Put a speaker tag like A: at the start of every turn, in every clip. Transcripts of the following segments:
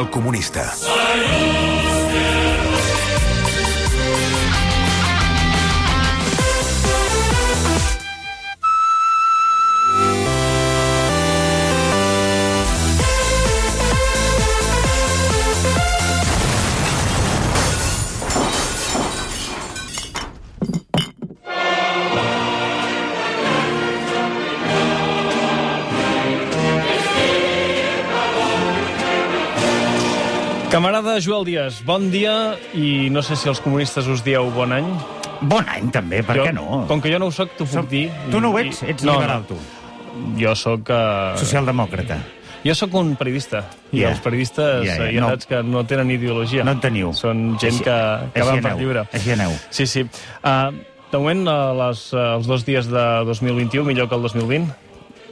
A: El comunista.
B: Camarada Joel Díaz, bon dia i no sé si els comunistes us dieu bon any.
C: Bon any, també, per
B: jo,
C: què no?
B: Com que jo no ho soc, t'ho puc
C: Som-
B: dir.
C: Tu no ho
B: I-
C: ets? Ets
B: no,
C: liberal, tu.
B: No. Jo sóc... Uh...
C: Socialdemòcrata.
B: Jo sóc un periodista, i
C: Ja.
B: els periodistes eh,
C: Ja,
B: yeah,
C: ja,
B: ja, ja
C: no.
B: saps que no tenen ideologia.
C: No en teniu.
B: Són gent
C: Així-
B: que, que
C: així
B: van per
C: aneu,
B: lliure.
C: així aneu.
B: Sí, sí. Uh, de moment, uh, les, uh, els dos dies de 2021, millor que el 2020.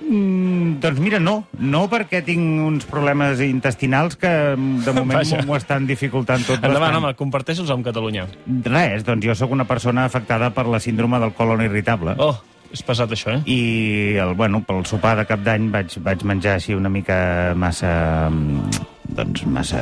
C: Mm, doncs mira, no. No perquè tinc uns problemes intestinals que mm, de moment
B: Vaja.
C: m'ho estan dificultant tot
B: Endavant,
C: bastant.
B: home, comparteixos amb Catalunya.
C: Res, doncs jo sóc una persona afectada per la síndrome del colon irritable.
B: Oh, és pesat això, eh?
C: I el, bueno, pel sopar de cap d'any vaig, vaig menjar així una mica massa mm, doncs massa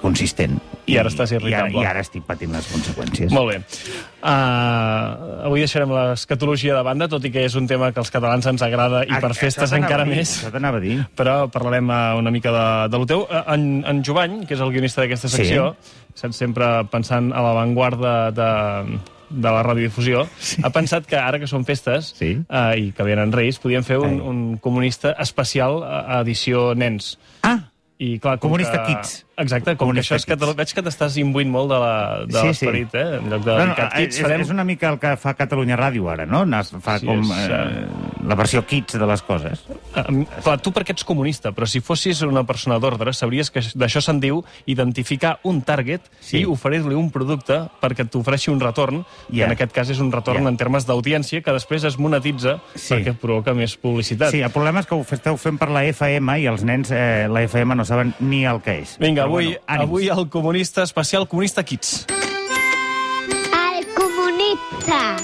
C: consistent.
B: I ara estàs irritable.
C: I ara, i ara estic patint les conseqüències.
B: Molt bé. Uh, avui deixarem l'escatologia de banda, tot i que és un tema que els catalans ens agrada i per
C: Ah,
B: festes
C: això t'anava
B: encara
C: a dir,
B: més.
C: Això t'anava a dir.
B: Però parlarem eh, una mica de, de lo teu. Eh, En, en Jovany, que és el guionista d'aquesta
C: Sí.
B: secció, saps, sempre pensant a l'avantguarda de, de la radiodifusió, sí. ha pensat que ara que són festes
C: Sí.
B: eh, i que venen Reis, podíem fer un,
C: Ai.
B: un comunista especial a a edició nens.
C: Ah,
B: I, clar, com
C: Comunista
B: que...
C: Kids.
B: Exacte, com
C: Comunista
B: que això és català...
C: Kids.
B: Veig que t'estàs imbuint molt de la- de
C: Sí, sí.
B: l'esperit, sí, sí. eh? En lloc de
C: Bueno,
B: dedicat Kids,
C: és,
B: farem...
C: és una mica el que fa Catalunya Ràdio ara, no? Nas- Fa
B: Sí,
C: sí, com
B: és,
C: eh, la versió kids de les coses.
B: eh, Em- Clar, tu perquè ets comunista, però si fossis una persona d'ordre, sabries que d'això se'n diu identificar un target sí.
C: Sí.
B: i oferir-li un producte perquè t'ofereixi un retorn, yeah. que
C: Ja.
B: en aquest cas és un retorn
C: Ja.
B: yeah. en termes d'audiència, que després es monetitza sí.
C: Sí.
B: perquè provoca més publicitat.
C: Sí,
B: Sí.
C: el problema és que ho esteu fent per la FM i els nens eh, la FM no saben ni el que és.
B: Vinga,
C: Però
B: avui,
C: bueno, ànims.
B: avui el comunista especial Comunista Kids.
D: El comunista.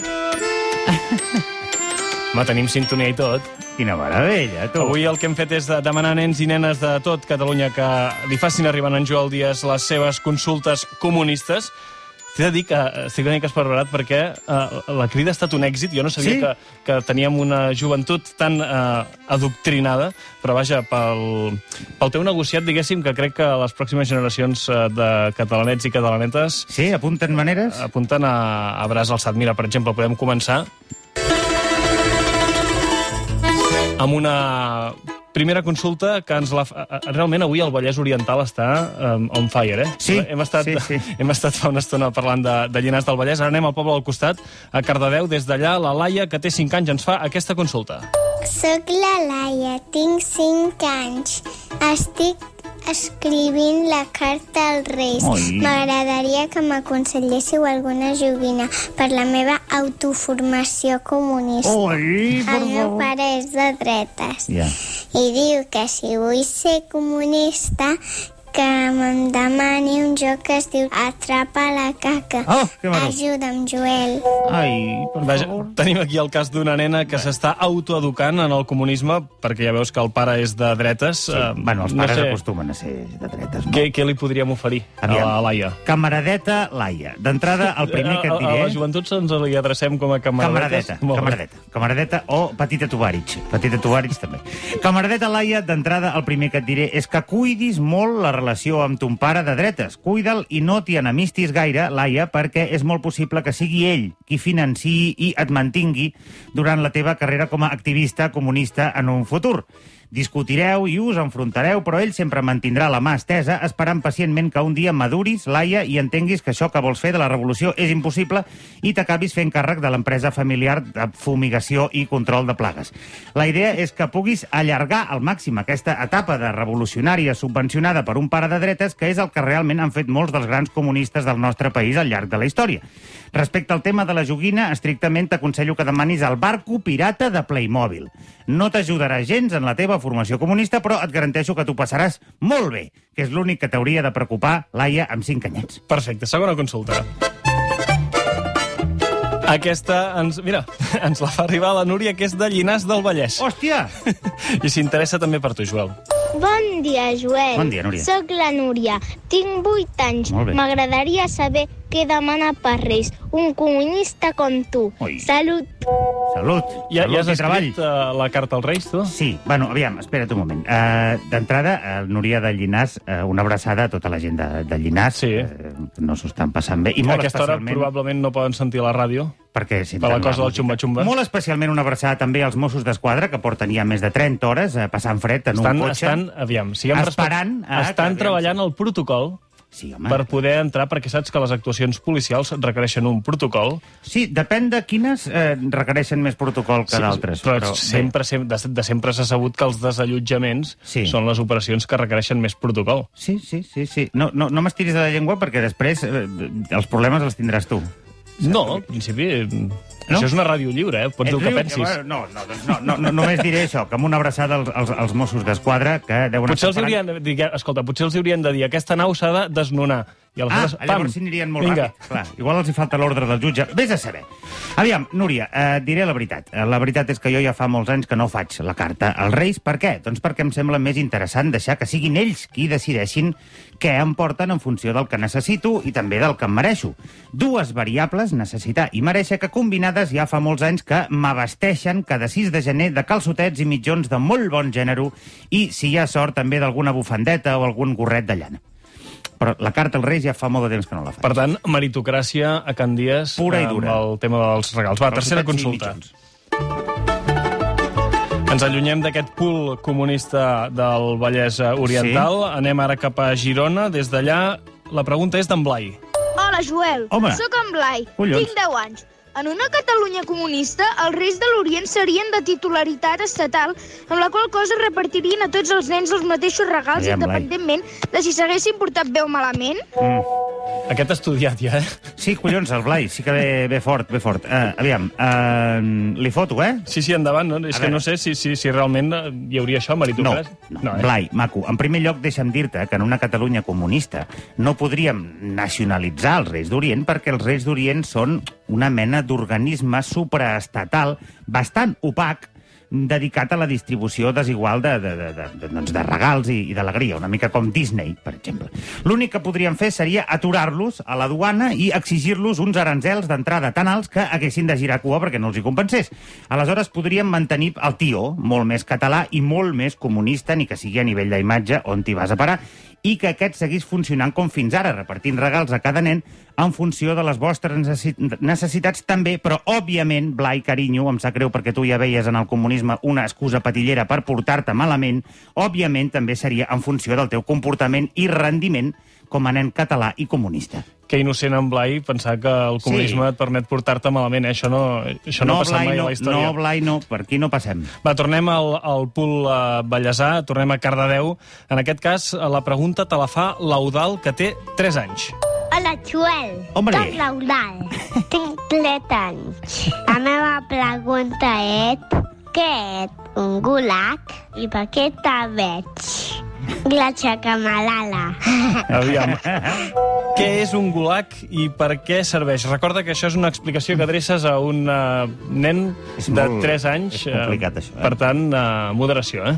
B: Va, tenim sintonia i tot.
C: Quina meravella, tu.
B: Avui el que hem fet és de- demanar a nens i nenes de tot Catalunya que li facin arribar a en Joel Díaz les seves consultes comunistes. T'he de dir que eh, estic una mica esperberat perquè eh, la crida ha estat un èxit. Jo no sabia
C: Sí?
B: que, que teníem una joventut tan eh, adoctrinada, però vaja, pel, pel teu negociat, diguéssim, que crec que les pròximes generacions eh, de catalanets i catalanetes
C: Sí, apunten maneres?
B: apunten a, a braç alçat. Mira, per exemple, podem començar amb una primera consulta que ens la... fa- eh, eh, Realment avui el Vallès Oriental està um, on fire, eh?
C: Sí,
B: hem estat,
C: sí, sí.
B: Hem estat fa una estona parlant de, de Llinars del Vallès, ara anem al poble al costat, a Cardedeu, des d'allà la Laia, que té 5 anys, ens fa aquesta consulta.
E: Soc la Laia, tinc 5 anys. Estic escrivint la carta als Reis.
C: Ui.
E: M'agradaria que m'aconselléssiu alguna joguina per la meva autoformació comunista.
C: Oi, Oh, per
E: El meu
C: favor.
E: pare és de dretes
C: Ja.
E: i diu que si vull ser comunista que me'n demani un joc que es diu Atrapa la caca.
C: Oh, que maco.
E: Ajuda'm, Joel.
C: Ai, per
B: Vaja,
C: favor.
B: tenim aquí el cas d'una nena que s'està autoeducant en el comunisme, perquè ja veus que el pare és de dretes. eh, Sí,
C: Bueno, els pares acostumen a ser de dretes, no?
B: Què, què li podríem oferir Aviam. a la Laia?
C: Camaradeta Laia. D'entrada,
B: Eh,
C: el primer que et diré...
B: A, a la joventut se'ns li adrecem com a camaradetes.
C: Camaradeta, camaradeta, camaradeta o petita Tovarich. Petita Tovarich també. Camaradeta, Laia, d'entrada, el primer que et diré és que cuidis molt la relació amb ton pare de dretes. Cuida'l i no t'hi enemistis gaire, Laia, perquè és molt possible que sigui ell qui financiï i et mantingui durant la teva carrera com a activista comunista en un futur. Discutireu i us enfrontareu, però ell sempre mantindrà la mà estesa, esperant pacientment que un dia maduris, Laia, i entenguis que això que vols fer de la revolució és impossible i t'acabis fent càrrec de l'empresa familiar de fumigació i control de plagues. La idea és que puguis allargar al màxim aquesta etapa de revolucionària subvencionada per un pare de dretes, que és el que realment han fet molts dels grans comunistes del nostre país al llarg de la història. Respecte al tema de la joguina, estrictament t'aconsello que demanis el barco pirata de Playmobil. No t'ajudarà gens en la teva formació comunista, però et garanteixo que t'ho passaràs molt bé, que és l'únic que t'hauria de preocupar, Laia, amb cinc anyets.
B: Perfecte, segona consulta. Aquesta ens... Mira,
C: Oh.
B: ens la fa arribar la Núria, que és de Llinars del Vallès.
C: Hòstia!
B: I s'interessa també per tu, Joel.
E: Bon dia, Joel.
C: Bon dia, Núria.
E: Soc la Núria. Tinc 8 anys.
C: Molt bé.
E: M'agradaria saber què demana per Reis un comunista com tu.
C: Ui.
E: Salut.
C: Salut.
B: Ja,
C: salut
B: ja has
C: i treball.
B: escrit uh, la carta als Reis, tu?
C: Sí, bueno, aviam, espera't un moment. Uh, D'entrada, uh, Núria de Llinàs, uh, una abraçada a tota la gent de, de Llinàs.
B: Sí.
C: eh, que no s'ho estan passant bé. I
B: a
C: molt
B: aquesta hora
C: especialment...
B: probablement no poden sentir la ràdio.
C: perquè si
B: Per la cosa del xumba-xumba.
C: Molt especialment una abraçada també als Mossos d'Esquadra, que porten ja més de 30 hores eh, passant fred en
B: Estan,
C: un cotxe.
B: estan, aviam, siguem respect-
C: Esperant a-
B: estan
C: que-
B: treballant el protocol
C: Sí, home.
B: per poder entrar, perquè saps que les actuacions policials requereixen un protocol.
C: Sí, depèn de quines eh, requereixen més protocol que d'altres.
B: doncs, Però,
C: però
B: però
C: bé.
B: sempre, sempre, de, de sempre s'ha sabut que els desallotjaments
C: Sí.
B: sí. són les operacions que requereixen més protocol.
C: Sí, sí, sí. sí. No, no, no m'estiris de la llengua perquè després eh, els problemes els tindràs tu.
B: No, en principi... No? Això és una ràdio lliure, eh? Pots dir el que
C: riu-
B: pensis.
C: Bueno, No, no, doncs no, no, no, només diré això, que amb una abraçada als, als, als Mossos d'Esquadra, que deuen
B: Potser els,
C: esperant-
B: haurien, de dir, escolta, potser els haurien de dir aquesta nau s'ha de desnonar. I
C: Ah,
B: aleshores,
C: llavors sí anirien molt
B: vinga.
C: ràpid. Clar, igual els hi falta l'ordre del jutge. Vés a saber. Aviam, Núria, eh, diré la veritat. Eh, La veritat és que jo ja fa molts anys que no faig la carta als Reis. Per què? Doncs perquè em sembla més interessant deixar que siguin ells qui decideixin què em porten en funció del que necessito i també del que em mereixo. Dues variables, necessitar i mereixer, que combinades ja fa molts anys que m'abasteixen cada 6 de gener de calçotets i mitjons de molt bon gènere i, si hi ha sort, també d'alguna bufandeta o algun gorret de llana. Però la carta als Reis ja fa molt de temps que no la faig.
B: Per tant, meritocràcia a Can Dies
C: Pura i
B: amb
C: dura.
B: el tema dels regals. Va, tercera
C: Calçotets i
B: consulta.
C: mitjons.
B: Ens allunyem d'aquest pool comunista del Vallès Oriental. Sí. Anem ara cap a Girona. Des d'allà, la pregunta és d'en Blai.
A: Hola, Joel.
C: Home.
A: Sóc en Blai.
C: Collons.
A: Tinc 10 anys. En una Catalunya comunista, els reis de l'Orient serien de titularitat estatal, amb la qual cosa repartirien a tots els nens els mateixos regals
C: Aviam, Blai.
A: independentment de si s'haguessin portat bé o malament?
B: Aquest estudiat ja, eh?
C: Sí, collons, el Blai, sí que ve, ve fort, ve fort. Uh, aviam, uh, li foto, eh?
B: Sí, sí, endavant. No? És
C: A
B: que
C: veure.
B: no sé si, si, si realment eh, hi hauria això,
C: No,
B: meritocràcia.
C: no, no eh? Blai, maco, en primer lloc deixa'm dir-te que en una Catalunya comunista no podríem nacionalitzar els Reis d'Orient perquè els Reis d'Orient són una mena d'organisme supraestatal bastant opac dedicat a la distribució desigual de, de, de, de, de, doncs de regals i, i d'alegria, una mica com Disney, per exemple. L'únic que podríem fer seria aturar-los a la duana i exigir-los uns aranzels d'entrada tan alts que haguessin de girar cua perquè no els hi compensés. Aleshores podríem mantenir el tio, molt més català i molt més comunista, ni que sigui a nivell d'imatge on t'hi vas a parar, i que aquest seguís funcionant com fins ara, repartint regals a cada nen en funció de les vostres necessi- necessitats també, però òbviament, Blai, carinyo, em sap greu perquè tu ja veies en el comunisme una excusa patillera per portar-te malament, òbviament també seria en funció del teu comportament i rendiment com a nen català i comunista.
B: Que innocent en Blai pensar que el
C: Sí.
B: comunisme et permet portar-te malament. Eh? Això no, això no, ha passat
C: Blai,
B: mai
C: no,
B: a la història.
C: No, Blai, no, per aquí no passem.
B: Va, tornem al, al pool eh, Vallèsà, tornem a Cardedeu. En aquest cas, eh, la pregunta te la fa l'Eudal, que té 3 anys.
E: Hola, Joel.
C: Hombre.
E: Soc l'Eudal. Tinc 3 anys. La meva pregunta és... Què ets? Un gulag? I per què te veig? La xacamalala.
B: Aviam. què és un gulag i per què serveix? Recorda que això és una explicació que adreces a un uh, nen
C: És
B: de
C: molt-
B: 3 anys.
C: és
B: eh,
C: complicat, això, eh?
B: Per tant, uh, moderació, eh?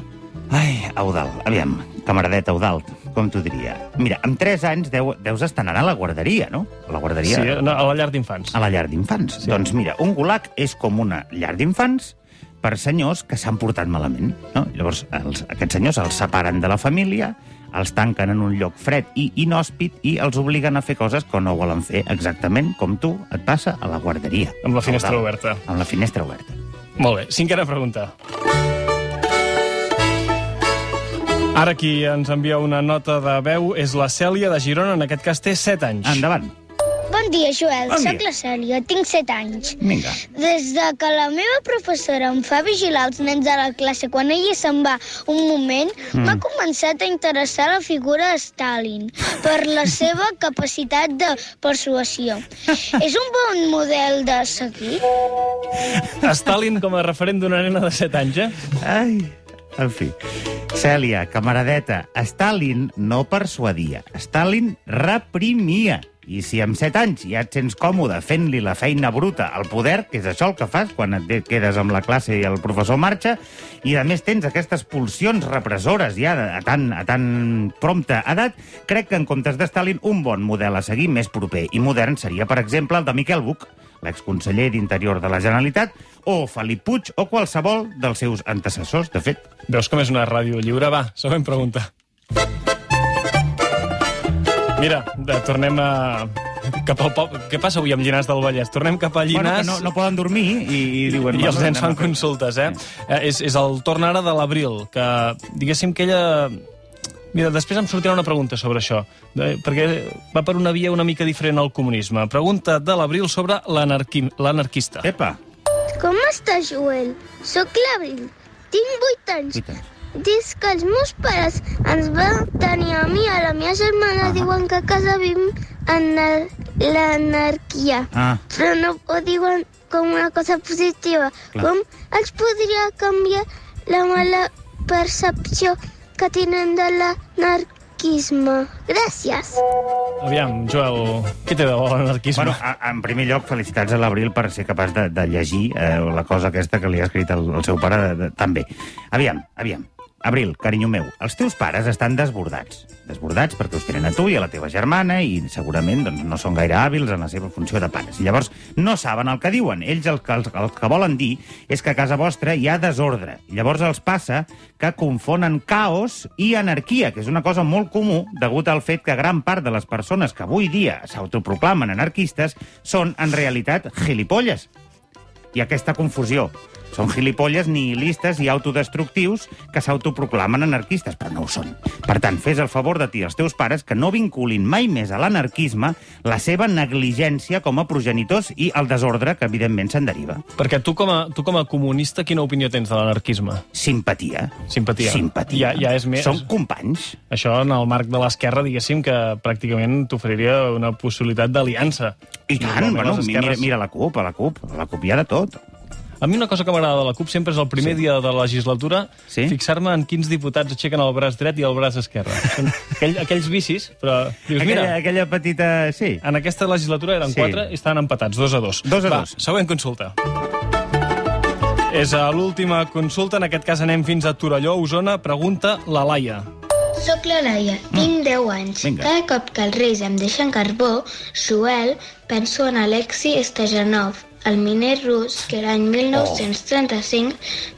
C: Ai, Eudal, aviam, camaradet Eudal, com t'ho diria. Mira, amb 3 anys deu, deus estar anant a la guarderia, no? A la guarderia...
B: Sí, eh? no, a la llar d'infants.
C: A la llar d'infants. Sí. Doncs mira, un gulag és com una llar d'infants per senyors que s'han portat malament. No? Llavors, els, aquests senyors els separen de la família, els tanquen en un lloc fred i inhòspit i els obliguen a fer coses que no volen fer exactament com tu et passa a la guarderia.
B: Amb la finestra
C: Al dalt.
B: oberta.
C: Amb la finestra oberta.
B: Molt bé, cinquena pregunta. Ara qui ens envia una nota de veu és la Cèlia de Girona, en aquest cas té 7 anys.
C: Endavant.
A: Bon dia, Joel.
C: Bon Soc dia. la
A: Cèlia, tinc 7 anys.
C: Vinga.
A: Des de que la meva professora em fa vigilar els nens de la classe quan ella se'n va un moment,
C: Mm.
A: m'ha començat a interessar la figura de Stalin per la seva capacitat de persuasió. És un bon model de seguir?
B: Stalin com a referent d'una nena de 7 anys, eh?
C: Ai, en fi. Cèlia, camaradeta, Stalin no persuadia. Stalin reprimia. I si amb 7 anys ja et sents còmode fent-li la feina bruta al poder, que és això el que fas quan et ve- quedes amb la classe i el professor marxa, i a més tens aquestes pulsions repressores ja de- a tan, a tan prompta edat, crec que en comptes de Stalin un bon model a seguir més proper i modern seria, per exemple, el de Miquel Buch, l'exconseller d'Interior de la Generalitat, o Felip Puig, o qualsevol dels seus antecessors, de fet.
B: Veus com és una ràdio lliure? Va, següent pregunta. Mira, de, tornem a... Cap al poble. Què passa avui amb Llinars del Vallès? Tornem cap a
C: Bueno,
B: Llinars...
C: que no, no poden dormir i, i diuen...
B: I els nens
C: "Bueno, anem a
B: fan
C: fer-"
B: consultes, eh? eh és, és el torn ara de l'abril, que diguéssim que ella... Mira, després em sortirà una pregunta sobre això, de, perquè va per una via una mica diferent al comunisme. Pregunta de l'abril sobre l'anarquim- l'anarquista. Eh,
C: Epa,
A: Com estàs, Joel? Sóc l'Abril. Tinc 8 anys.
C: Vuit anys.
A: Des que els meus pares ens van tenir a mi i a la meva germana
C: Ah.
A: diuen que a casa vivim en el- l'anarquia.
C: Ah.
A: Però no ho diuen com una cosa positiva.
C: Clar.
A: Com ens podria canviar la mala percepció que tenen de l'anarquisme? Gràcies.
B: Aviam, Joel, què té de bo l'anarquisme?
C: Bueno, a, en primer lloc, felicitats a l'Abril per ser capaç de, de llegir eh, la cosa aquesta que li ha escrit el, el seu pare de, de, també. Aviam, aviam. Abril, carinyo meu, els teus pares estan desbordats. Desbordats perquè us tenen a tu i a la teva germana i segurament doncs, no són gaire hàbils en la seva funció de pares. I llavors no saben el que diuen. Ells el que, el, el que volen dir és que a casa vostra hi ha desordre. I llavors els passa que confonen caos i anarquia, que és una cosa molt comú degut al fet que gran part de les persones que avui dia s'autoproclamen anarquistes són en realitat gilipolles i aquesta confusió. Són gilipolles nihilistes i autodestructius que s'autoproclamen anarquistes, però no ho són. Per tant, fes el favor de ti als teus pares que no vinculin mai més a l'anarquisme la seva negligència com a progenitors i el desordre que, evidentment, se'n deriva.
B: Perquè tu com, a, tu com a comunista quina opinió tens de l'anarquisme?
C: Simpatia.
B: Simpatia.
C: Simpatia.
B: Ja- ja és més-
C: Som companys.
B: Això en el marc de l'esquerra, diguéssim, que pràcticament t'oferiria una possibilitat d'aliança.
C: I tant,
B: Normalment
C: bueno,
B: les
C: mira,
B: esquerres-
C: mira la CUP, a la CUP. A la CUP hi ha de tot.
B: A mi una cosa que m'agrada de la CUP sempre és el primer sí. dia de la legislatura
C: Sí?
B: sí? fixar-me en quins diputats aixequen el braç dret i el braç esquerre. Són Aquell, aquells vicis, però dius, mira,
C: Aquella, aquella petita... Sí.
B: en aquesta legislatura eren
C: Sí.
B: sí. quatre i estaven empatats, dos a dos.
C: Dos a
B: Va,
C: dos.
B: següent consulta. És a l'última consulta, en aquest cas anem fins a Torelló, Osona. Pregunta la Laia.
A: Soc la Laia, tinc 10 anys.
C: Vinga.
A: Cada cop que els reis em deixen carbó, Joel, penso en Alexei Estajanov, el miner rus que l'any 1935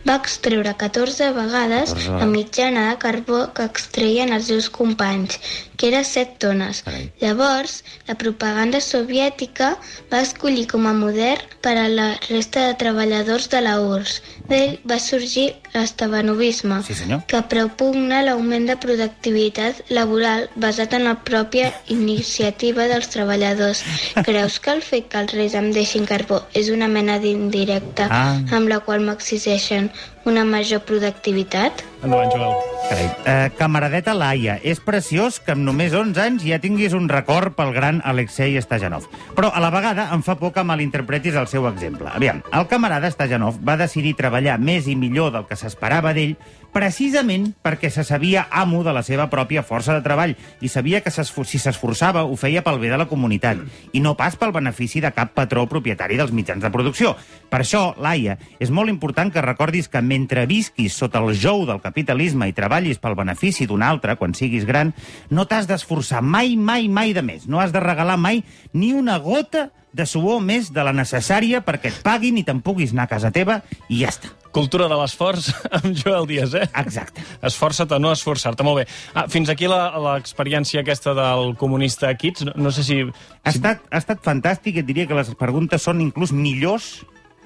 A: va extreure 14 vegades la mitjana de carbó que extreien els seus companys, que era 7 tones.
C: Carai.
A: Llavors, la propaganda soviètica va escollir com a model per a la resta de treballadors de la URSS. D'ell va sorgir l'estavanobisme,
C: Sí, senyor.
A: que propugna l'augment de productivitat laboral basat en la pròpia iniciativa dels treballadors. Creus que el fet que els reis em deixin carbó és una mena d'indirecta
C: Ah.
A: amb la qual m'exigeixen una major productivitat?
B: Endavant, Joel.
C: Carai. Eh, camaradeta Laia, és preciós que amb només 11 anys ja tinguis un record pel gran Alexei Stajanov. Però a la vegada em fa por que malinterpretis el seu exemple. Aviam, el camarada Stajanov va decidir treballar més i millor del que s'esperava d'ell precisament perquè se sabia amo de la seva pròpia força de treball i sabia que s'esfor- si s'esforçava ho feia pel bé de la comunitat i no pas pel benefici de cap patró propietari dels mitjans de producció. Per això, Laia, és molt important que recordis que mentre visquis sota el jou del capitalisme i treballis pel benefici d'un altre quan siguis gran, no t'has d'esforçar mai, mai, mai de més. No has de regalar mai ni una gota de suor més de la necessària perquè et paguin i te'n puguis anar a casa teva i ja està.
B: Cultura de l'esforç amb Joel Díaz, eh?
C: Exacte.
B: Esforça't a no esforçar-te, molt bé. Ah, fins aquí la- l'experiència aquesta del comunista Kids. No, no sé si...
C: Ha estat, ha estat fantàstic i et diria que les preguntes són inclús millors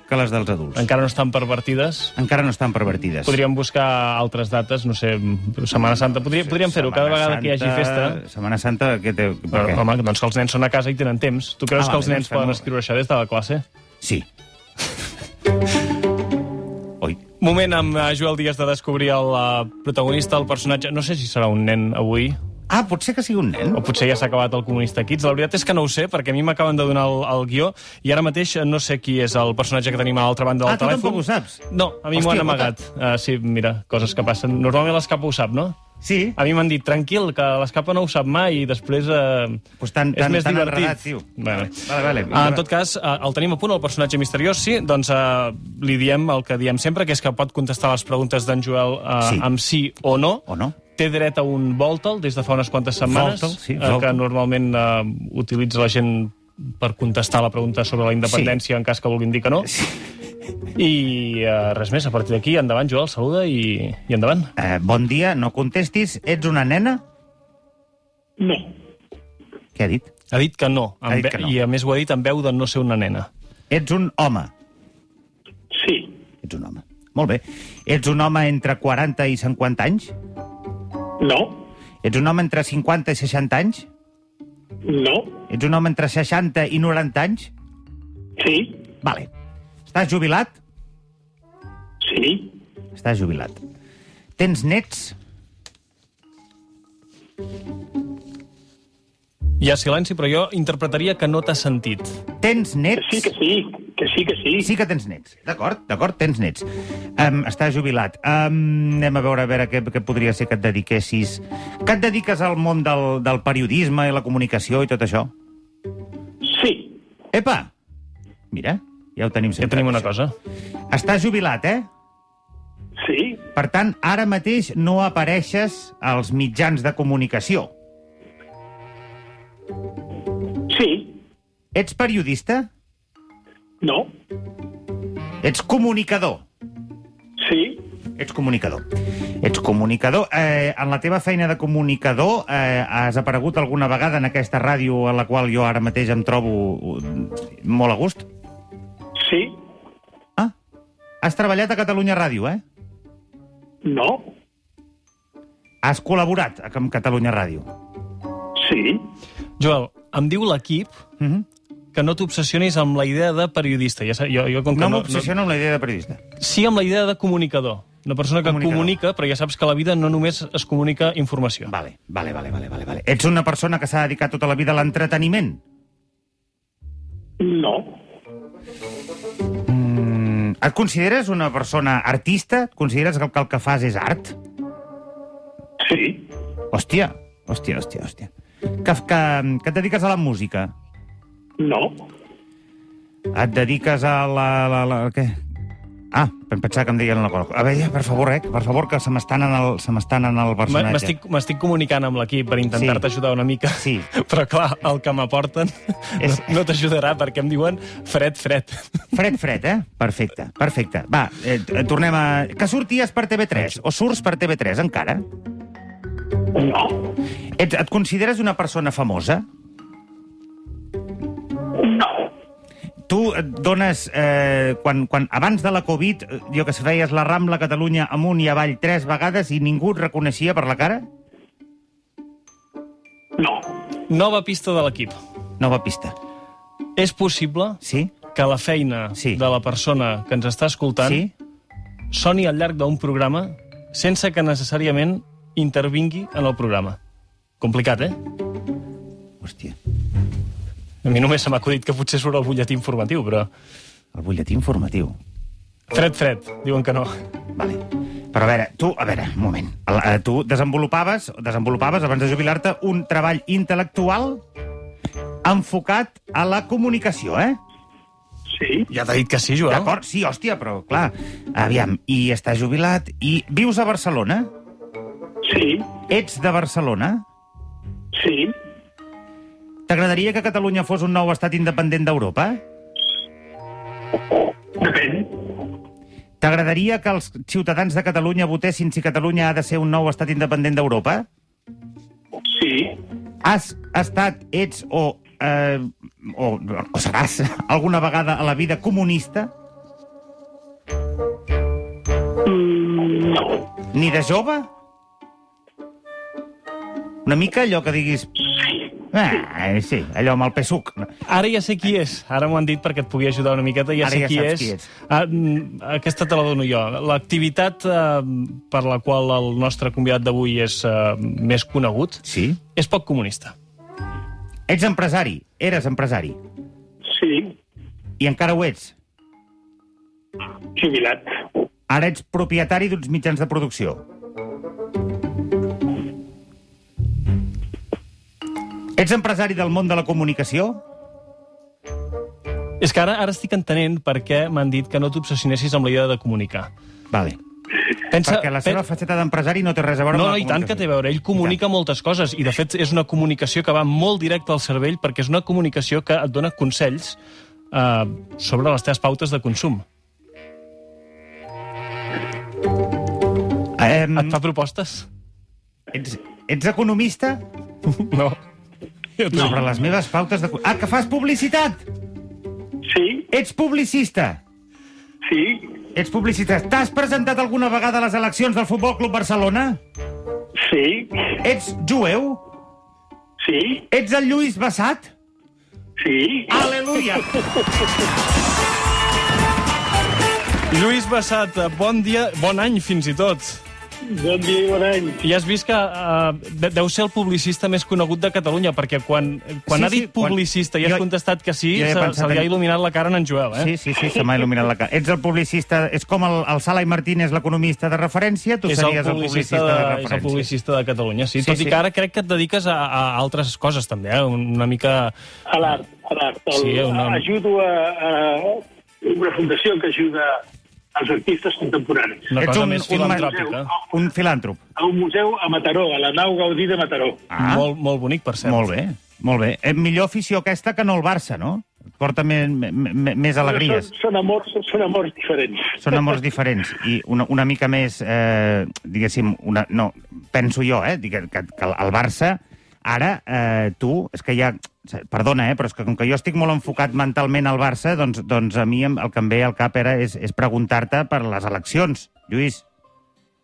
C: que les dels adults.
B: encara no estan pervertides.
C: Encara no estan pervertides.
B: Podríem buscar altres dates, no sé, Setmana Santa. Podria, podríem fer-ho cada
C: Setmana
B: vegada que hi hagi
C: Santa-
B: festa.
C: Setmana Santa, què té? per
B: Però,
C: què?
B: home, doncs que els nens són a casa i tenen temps. Tu creus
C: Ah,
B: que els
C: va,
B: nens
C: doncs fem-ho.
B: poden escriure això des de la classe?
C: Sí. Oi.
B: Moment amb eh, Joel Díaz de descobrir el eh, protagonista, el personatge... No sé si serà un nen avui,
C: Ah, potser que sigui un nen.
B: o potser ja s'ha acabat el Comunista Kids. La veritat és que no ho sé, perquè a mi m'acaben de donar el, el guió i ara mateix no sé qui és el personatge que tenim a l'altra banda del
C: Ah, tu
B: telèfon.
C: tampoc ho saps?
B: No, a mi m'ho han
C: Hòstia,
B: Ah,
C: guapa.
B: amagat. Uh, sí, mira, coses que passen. Normalment l'escapa ho sap, no?
C: Sí,
B: A mi m'han dit, tranquil, que l'escapa no ho sap mai i després eh,
C: Pues tan- tan-
B: és més
C: tan
B: divertit.
C: enredat, tio.
B: Vale.
C: Vale, vale.
B: Ah, en tot cas, eh, el tenim a punt, el personatge misteriós, sí, doncs eh, li diem el que diem sempre, que és que pot contestar les preguntes d'en Joel eh,
C: Sí.
B: sí. amb sí o no.
C: O no.
B: Té dret a un Voltel des de fa unes quantes setmanes,
C: Voltel, sí,
B: eh, que
C: Voltel.
B: normalment eh, utilitza la gent per contestar la pregunta sobre la independència sí. en cas que vulguin dir que no. Sí. I eh, res més, a partir d'aquí, endavant, Joel, saluda i, i endavant.
C: Eh, bon dia, no contestis. Ets una nena?
F: No.
C: Què ha dit?
B: Ha dit que no, en
C: Ha dit
B: ve-
C: que no.
B: i a més ho ha dit en veu de no ser una nena.
C: Ets un home.
F: Sí.
C: Ets un home. Molt bé. Ets un home entre 40 i 50 anys?
F: No.
C: Ets un home entre 50 i 60 anys?
F: No.
C: Ets un home entre 60 i 90 anys?
F: Sí.
C: Vale. Estàs jubilat?
F: Sí.
C: Estàs jubilat. Tens nets?
B: Hi ha silenci, però jo interpretaria que no t'ha sentit.
C: Tens
F: Que
C: nets?
F: sí, que sí. Que sí, que sí.
C: Sí que tens nets, d'acord, d'acord, tens nets. Um, estàs jubilat. Um, anem a veure a veure què, què podria ser que et dediquessis... Que et dediques al món del, del periodisme i la comunicació i tot això?
F: Sí.
C: Epa! Mira, ja ho tenim
B: Ja Eh,
C: sempre.
B: tenim una
C: això.
B: cosa.
C: Estàs jubilat, eh?
F: Sí.
C: Per tant, ara mateix no apareixes als mitjans de comunicació.
F: Sí.
C: Ets periodista?
F: No.
C: Ets comunicador?
F: Sí.
C: Ets comunicador. Ets comunicador. Eh, en la teva feina de comunicador eh, has aparegut alguna vegada en aquesta ràdio a la qual jo ara mateix em trobo eh, molt a gust?
F: Sí.
C: Ah, has treballat a Catalunya Ràdio, eh?
F: No.
C: Has col·laborat a- amb Catalunya Ràdio.
F: Sí.
B: Joel, em diu l'equip
C: Mm -hmm.
B: que no t'obsessionis amb la idea de periodista. Ja, sa- jo, jo, com que
C: No m'obsessiono amb la idea de periodista.
B: No, sí amb la idea de comunicador. Una persona que
C: Comunicador.
B: comunica, però ja saps que a la vida no només es comunica informació.
C: Vale, vale, vale, vale, vale, vale. Ets una persona que s'ha dedicat tota la vida a l'entreteniment.
F: No.
C: Mm, et consideres una persona artista? Et consideres que el- que el que fas és art?
F: Sí.
C: Hòstia, hòstia, hòstia, hòstia. Que, que, que et dediques a la música?
F: No.
C: Et dediques a la... la, la què? Ah, em pensava que em deien una cosa. A veure, per favor, eh? Per favor, que se m'estan en, el- se m'estan en el
B: M-
C: personatge.
B: M'estic m'estic comunicant amb l'equip per intentar-te ajudar una mica,
C: Sí.
B: però clar, el que m'aporten no,
C: És-
B: no t'ajudarà perquè em diuen fred, fred.
C: Fred, fred, eh? Perfecte, perfecte. Va, eh, t- tornem a... Que sorties per TV3? O surts per TV3, encara?
F: No.
C: Et, et consideres una persona famosa?
F: No.
C: Tu et dones, eh, quan, quan, abans de la Covid, eh, jo que sé, feies la Rambla Catalunya amunt i avall tres vegades i ningú et reconeixia per la cara?
F: No.
B: Nova pista de l'equip.
C: Nova pista.
B: És possible
C: Sí?
B: que la feina
C: Sí.
B: de la persona que ens està escoltant
C: Sí?
B: soni al llarg d'un programa sense que necessàriament intervingui en el programa. Complicat, eh?
C: Hòstia,
B: A mi només se m'ha acudit que potser surt el butlletí informatiu, però...
C: el butlletí informatiu.
B: Fred, fred, diuen que no.
C: Vale. Però a veure, tu, a veure, un moment. El- eh, Tu desenvolupaves, desenvolupaves abans de jubilar-te, un treball intel·lectual enfocat a la comunicació, eh?
F: Sí.
B: Ja t'ha dit que sí, Joel.
C: D'acord? Sí, hòstia, però clar, aviam, i estàs jubilat, i vius a Barcelona?
F: Sí.
C: Ets de Barcelona?
F: Sí.
C: T'agradaria que Catalunya fos un nou estat independent d'Europa?
F: Depèn.
C: T'agradaria que els ciutadans de Catalunya votessin si Catalunya ha de ser un nou estat independent d'Europa?
F: Sí.
C: Has estat, ets o, eh, o, o seràs alguna vegada a la vida comunista?
F: Mm, no.
C: Ni de jove? Una mica allò que diguis... Ah, sí, allò amb el pesuc.
B: Ara ja sé qui és. Ara m'ho han dit perquè et pugui ajudar una miqueta. Ja
C: Ara
B: sé
C: ja
B: qui
C: saps
B: és.
C: qui ets.
B: Ah, mm, aquesta te la dono jo. L'activitat eh, per la qual el nostre convidat d'avui és eh, més conegut
C: Sí?
B: és poc comunista.
C: Ets empresari, eres empresari,
F: Sí.
C: i encara ho ets.
F: Jubilat.
C: Ara ets propietari d'uns mitjans de producció. Ets empresari del món de la comunicació?
B: És que ara, ara estic entenent per què m'han dit que no t'obsessionessis amb la idea de comunicar.
C: Vale.
B: Pensa,
C: Perquè la seva
B: pen-
C: faceta d'empresari no té res a veure
B: No,
C: amb
B: no,
C: la
B: i tant que té a veure. Ell comunica moltes coses i, de fet, és una comunicació que va molt directa al cervell perquè és una comunicació que et dona consells eh, sobre les teves pautes de consum.
C: Em,
B: Et fa propostes?
C: ets, ets economista?
B: No. Jo t'ho
C: Sobre
B: dic.
C: les meves pautes de... Ah, que fas publicitat!
F: sí,
C: Ets publicista!
F: sí,
C: Ets publicista. T'has presentat alguna vegada a les eleccions del Futbol Club Barcelona?
F: sí,
C: Ets jueu?
F: sí,
C: Ets el Lluís Bassat?
F: sí.
C: Aleluia!
B: Lluís Bassat, bon dia, bon any fins i tot.
F: Bon dia i bon any.
B: I has vist que eh, de- deu ser el publicista més conegut de Catalunya, perquè quan, quan
C: Sí,
B: ha dit
C: sí, quan-
B: publicista i has
C: jo-
B: contestat que sí,
C: jo he
B: se,
C: pensat
B: se li
C: en-
B: ha il·luminat la cara a en, en Joel, eh?
C: Sí, sí, sí, se m'ha il·luminat la cara. Ets el publicista... És com el, el Sala i Martínez, l'economista de referència, tu
B: és el,
C: series el
B: publicista
C: publicista de,
B: de, és el
C: referència.
B: publicista de Catalunya, sí.
C: Sí,
B: sí Tot sí.
C: sí.
B: i que ara crec que et dediques a, a altres coses, també, eh? Una mica...
F: A l'art, a l'art. El-
B: Sí, una-
F: Ajudo a, a una fundació que ajuda als artistes contemporanis.
B: Una
C: Ets
B: cosa
C: un-
B: més
C: un mas-
B: filantròpica.
C: Un filàntrop.
F: A un museu a Mataró, a la nau Gaudí de Mataró.
C: Ah, molt,
B: Molt, molt bonic, per cert.
C: molt bé, molt bé. Eh, millor afició aquesta que no el Barça, no? Et porta més, més alegries.
F: Són, són, amors, són amors diferents.
C: Són amors diferents i una, una mica més, eh, diguéssim, una, no, penso jo, eh, digue, que, que el Barça ara, eh, tu, és que ja... Perdona, eh, però és que com que jo estic molt enfocat mentalment al Barça, doncs, doncs a mi em- el que em ve al cap era és, és preguntar-te per les eleccions. Lluís,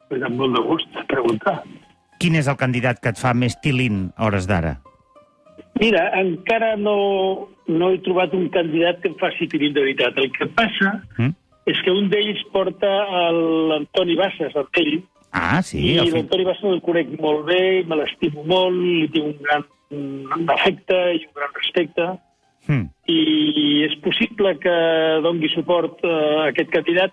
F: Pues amb molt de gust preguntar.
C: quin és el candidat que et fa més tilín a hores d'ara?
F: Mira, encara no, no he trobat un candidat que em faci tirit de veritat. El que passa
C: Mm?
F: és que un d'ells porta el- l'Antoni Bassas, el Kelly,
C: Ah, sí,
F: i
C: al fi...
F: l'Antoni Bassas el conec molt bé, me l'estimo molt, li tinc un gran un afecte i un gran respecte,
C: Mm.
F: i és possible que dongui suport eh, a aquest candidat,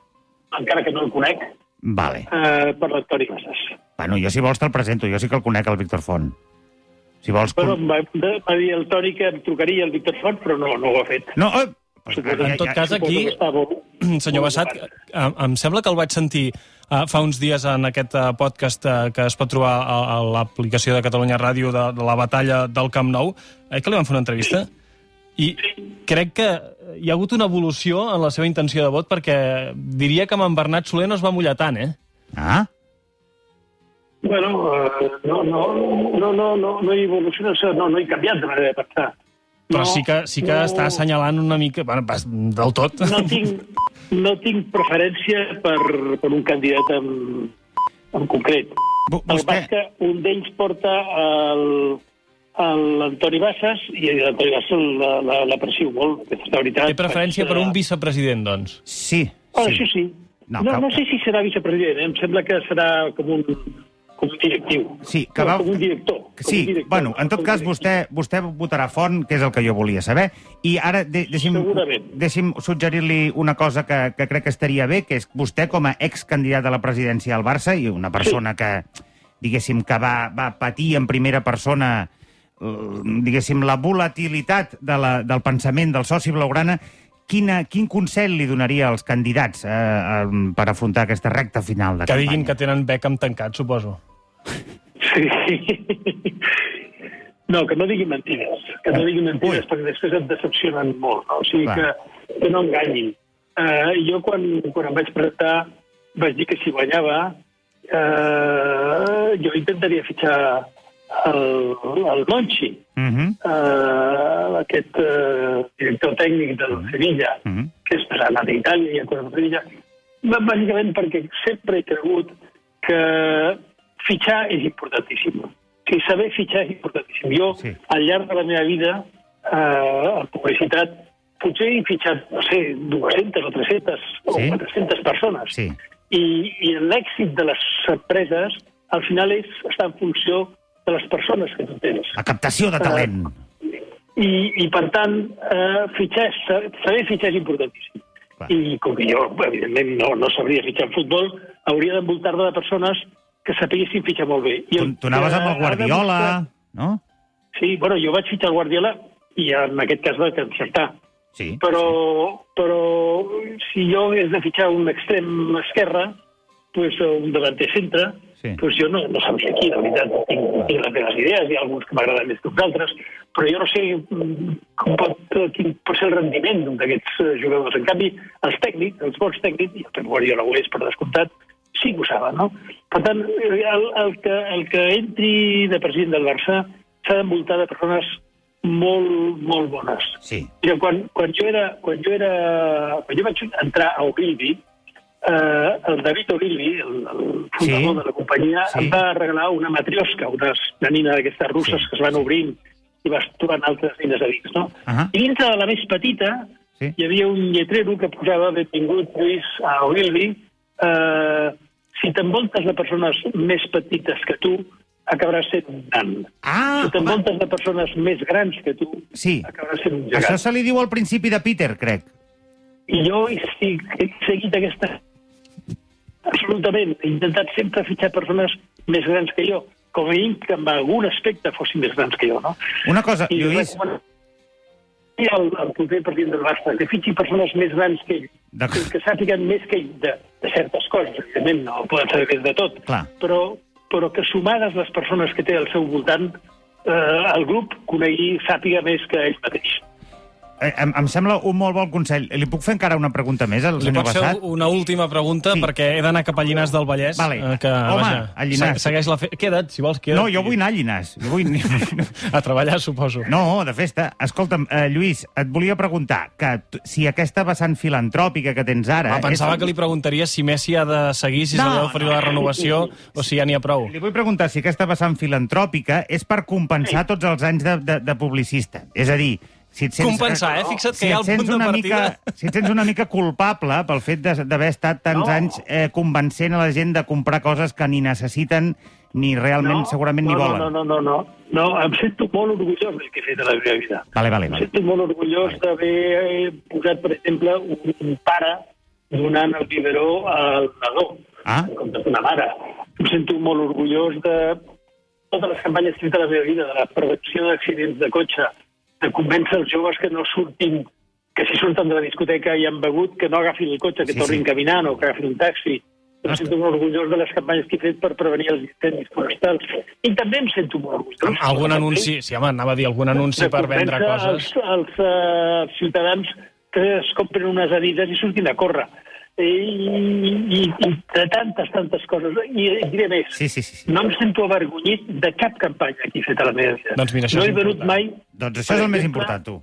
F: encara que no el conec,
C: Vale.
F: eh, per l'Antoni Bassas.
C: Bueno, jo si vols te'l presento, jo sí que el conec, el Víctor Font. Si vols...
F: Bueno, em va, em va dir el Toni que em trucaria el Víctor Font, però no, no ho ha fet.
C: No, eh, pues,
F: Suposo-
B: En tot cas,
F: suposo
B: aquí,
F: que està bo-
B: senyor Bassat, eh, em sembla que el vaig sentir eh, fa uns dies en aquest eh, podcast eh, que es pot trobar a, a l'aplicació de Catalunya Ràdio de, de la batalla del Camp Nou, eh, que li van fer una entrevista, i crec que hi ha hagut una evolució en la seva intenció de vot, perquè diria que amb en Bernat Soler no es va mullar tant, eh?
C: Ah,
F: Bueno, eh, no, no, no, no, no, no he evolucionat, o sigui, no, no he canviat de manera de pensar.
B: Però
F: no,
B: sí que, sí que
F: no,
B: està assenyalant una mica... Bueno, pas, del tot.
F: No tinc, no tinc preferència per, per un candidat en, en concret.
C: vo-
F: El que passa és
C: vostè...
F: que un d'ells porta el- el- l'Antoni Bassas i l'Antoni Bassas la, la, l'aprecio molt, aquesta és la veritat.
B: Té preferència per un vicepresident, doncs.
C: Sí,
F: Oh,
C: sí.
F: Això sí.
C: No,
F: No, no,
C: que-
F: no sé si serà vicepresident, eh? em sembla que serà com un, com un directiu.
C: Sí, que
F: No,
C: va-
F: Com un director.
C: Que
F: com un
C: Sí,
F: director,
C: bueno, en tot
F: com un
C: cas,
F: directiu.
C: vostè, vostè votarà font, que és el que jo volia saber, i ara de, deixi'm,
F: Segurament.
C: deixi'm suggerir-li una cosa que, que crec que estaria bé, que és vostè, com a excandidat a la presidència al Barça, i una persona que, diguéssim, que va, va patir en primera persona eh, diguéssim, la volatilitat de la, del pensament del soci blaugrana, quina, quin consell li donaria als candidats eh, eh, per afrontar aquesta recta final de
B: Que
C: campanya?
B: diguin que tenen Beckham tancat, suposo.
F: Sí. No, que no diguin mentides, que no diguin mentides,
C: Ui.
F: perquè després et decepcionen molt, no? o sigui que,
C: Clar.
F: que no enganyin. Uh, jo quan, quan em vaig presentar vaig dir que si guanyava uh, jo intentaria fitxar el, el Monchi,
C: Mhm,
F: uh, aquest uh, director tècnic del Sevilla,
C: mhm.
F: que és per anar d'Itàlia i a Costa Rica, Bà- bàsicament perquè sempre he cregut que fitxar és importantíssim. O sigui, saber fitxar és importantíssim. Jo,
C: Sí.
F: sí. al llarg de la meva vida, eh, en publicitat, potser he fitxat, no sé, 200 o 300
C: Sí.
F: o 400 persones.
C: Sí.
F: I, i l'èxit de les empreses, al final, és, està en funció de les persones que tu tens.
C: La captació de talent.
F: Ah, I, i per tant, eh, fitxar, és- saber fitxar és importantíssim.
C: Clar.
F: I com que jo, evidentment, no, no sabria fitxar en futbol, hauria d'envoltar-me de persones que sapiguessin fitxar molt bé. I
C: Tu, tu anaves amb el
F: que ha
C: Guardiola,
F: demostrat-
C: no?
F: Sí, bueno, jo vaig fitxar el Guardiola i en aquest cas vaig encertar.
C: Sí.
F: Però, però si jo hagués de fitxar un extrem esquerre, pues, o un davanter centre,
C: Sí.
F: sí. pues jo no, no sabria qui, la veritat, tinc, tinc les meves idees, hi ha alguns que m'agraden més que uns altres, però jo no sé mm, com pot, quin pot ser el rendiment d'aquests eh, jugadors. En canvi, els tècnics, els bons tècnics, i el Pep Guardiola ho és, per descomptat, sí que ho saben, no? Per tant, eh, el, el, que, el que entri de president del Barça s'ha d'envoltar de persones molt, molt bones.
C: Sí.
F: Mira, quan, quan, jo era, quan jo era... Quan jo vaig entrar a Ogilvy, eh, el David Ogilvy, el, el fundador
C: Sí.
F: sí. de la companyia,
C: Sí.
F: sí. em va regalar una matriosca, una, una nina d'aquestes russes
C: Sí,
F: sí. que es van
C: sí.
F: obrint i vas trobant altres nines a dins, no?
C: Ahà.
F: I dintre de la més petita
C: Sí.
F: hi havia un lletrero que posava benvingut Lluís a Ogilvy. Eh, si t'envoltes de persones més petites que tu, acabaràs sent un nan.
C: Ah,
F: Si t'envoltes de persones més grans que tu,
C: Sí.
F: acabaràs sent un
C: home,
F: gegant.
C: això se li diu al principi de Peter, crec.
F: I jo he, he, he seguit aquesta... Absolutament. He intentat sempre fitxar persones més grans que jo. Com a mínim que en algun aspecte fossin més grans que jo, no?
C: Una cosa,
F: I
C: Lluís...
F: recomano- I el, el proper president del Barça, que fitxi persones més grans que ell, que,
C: D'acord.
F: que sàpiguen més que ell de, de certes coses, evidentment, no poden saber més de tot,
C: Clar.
F: però, però que sumades les persones que té al seu voltant, eh, el grup conegui, sàpiga més que ell mateix.
C: Eh, Em, em sembla un molt bon consell. Li puc fer encara una pregunta més al
B: Li
C: senyor
B: pots fer
C: Bassat?
B: una última pregunta,
C: Sí.
B: sí. perquè he d'anar cap a Llinars del Vallès.
C: Vale.
B: eh, Que,
C: Home,
B: vaja,
C: a Llinars.
B: se- Segueix la fe... Queda't, si vols, queda't.
C: No, jo vull anar a Llinars. Jo vull...
B: A treballar, suposo.
C: No, de festa. Escolta'm, eh, Lluís, et volia preguntar que t- si aquesta vessant filantròpica que tens ara...
B: Va, pensava que li preguntaria si Messi ha de seguir, si
C: No,
B: se li ha d'oferir
C: no.
B: la renovació, o si ja n'hi ha prou.
C: Li vull preguntar si aquesta vessant filantròpica és per compensar tots els anys de, de, de publicista. És a dir, si et sents...
B: Compensar, eh? Fixa't que
C: si
B: hi ha
C: et
B: el
C: sents
B: punt de
C: una mica,
B: partida.
C: Si et sents una mica culpable pel fet de- d'haver estat tants
F: No.
C: anys eh, convencent a la gent de comprar coses que ni necessiten ni realment, segurament,
F: no,
C: ni volen.
F: No, no, no, no, no. Em sento molt orgullós del que he fet a la meva vida.
C: Vale, vale,
F: Em
C: vale.
F: sento molt orgullós d'haver eh, posat, per exemple, un, un pare donant el biberó al nadó,
C: Ah.
F: en comptes d'una mare. Em sento molt orgullós de totes les campanyes que he fet a la meva vida, de la prevenció d'accidents de cotxe, de convèncer els joves que no surtin que si surten de la discoteca i han begut, que no agafin el cotxe, que
C: Sí, sí.
F: sí, tornin caminant o que agafin un taxi. Em sento molt orgullós de les campanyes que he fet per prevenir els incendis forestals. I també em sento molt orgullós.
B: Algun anunci... Sí, home, anava a dir algun anunci per vendre
F: Recompensa
B: coses.
F: Als, als eh, ciutadans que es compren unes adides i surtin a córrer. I, i, i de tantes, tantes coses. I et diré més,
C: Sí, sí, sí. sí.
F: no em sento avergonyit de cap campanya que he fet a la meva vida.
B: Doncs mira, això
F: no
B: és
F: he venut
B: important.
F: mai...
C: Doncs això és el
F: per
C: més
F: exemple,
C: important, tu.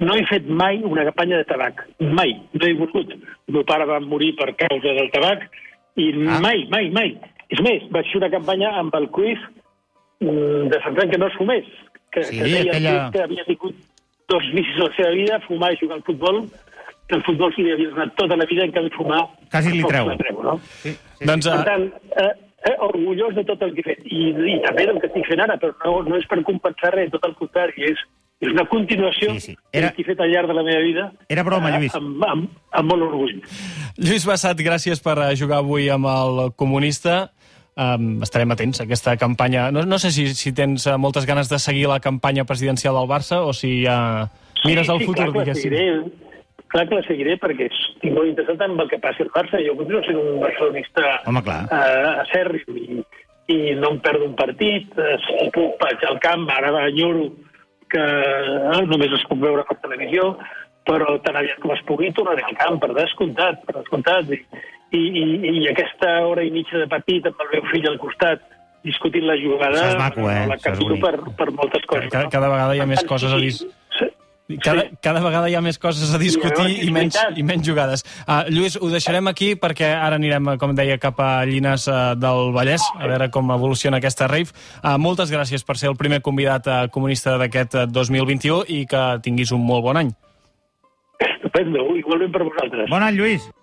F: No he fet mai una campanya de tabac. Mai. No he volgut. El meu pare va morir per causa del tabac i
C: Ah.
F: ah. mai, mai, mai. És més, vaig fer una campanya amb el CUIF mm, defensant que no es fumés. Que,
C: Sí,
F: que deia el
C: aquella-
F: CUIF que havia tingut dos vicis a la seva vida, fumar i jugar al futbol, que el futbol s'hi havia donat tota la vida, en canvi fumar...
C: Quasi li
F: poc
C: treu.
F: la treu no?
C: Sí, sí,
B: Doncs,
F: Per
B: eh,
F: tant, eh, eh, orgullós de tot el que he fet. I, i també del que estic fent ara, però no, no és per compensar res, tot el contrari, és, és una continuació
C: Sí,
F: sí,
C: sí.
F: sí.
C: Era-
F: Era... que he fet al llarg de la meva vida.
C: Era broma,
F: eh,
C: Lluís.
F: Amb, amb, amb molt orgull.
B: Lluís Bassat, gràcies per eh, jugar avui amb el comunista. Um, estarem atents a aquesta campanya. No, no sé si, si tens eh, moltes ganes de seguir la campanya presidencial del Barça o si ja mires al futur,
F: clar que la seguiré, clar que la seguiré perquè estic molt interessat en el que passi al Barça. Jo continuo sent un barcelonista
C: Home, clar.
F: eh, acèrrim i, i no em perdo un partit. Eh, Si puc vaig al camp, ara enyoro que eh, només es puc veure per televisió, però tan aviat com es pugui tornaré al camp, per descomptat, per descomptat. I, i, i, i aquesta hora i mitja de partit amb el meu fill al costat discutint la jugada,
C: Això és maco, eh? Això
F: la
C: és
F: capto
C: bonic.
F: per, per moltes coses.
B: Cada-
F: no?
B: cada vegada hi ha
F: Per
B: més
F: tant,
B: coses a
F: sí,
B: dir.
F: sí.
B: Cada,
F: Sí.
B: cada vegada hi ha més coses a discutir
F: Sí, és
B: i menys,
F: veritat.
B: i menys jugades. Uh, Lluís, ho deixarem aquí perquè ara anirem, eh, com deia, cap a Llinars uh, del Vallès, a veure com evoluciona aquesta rave. Uh, moltes gràcies per ser el primer convidat uh, comunista d'aquest eh, 2021 i que tinguis un molt bon any.
F: Estupendo, igualment per vosaltres.
C: Bon any, Lluís.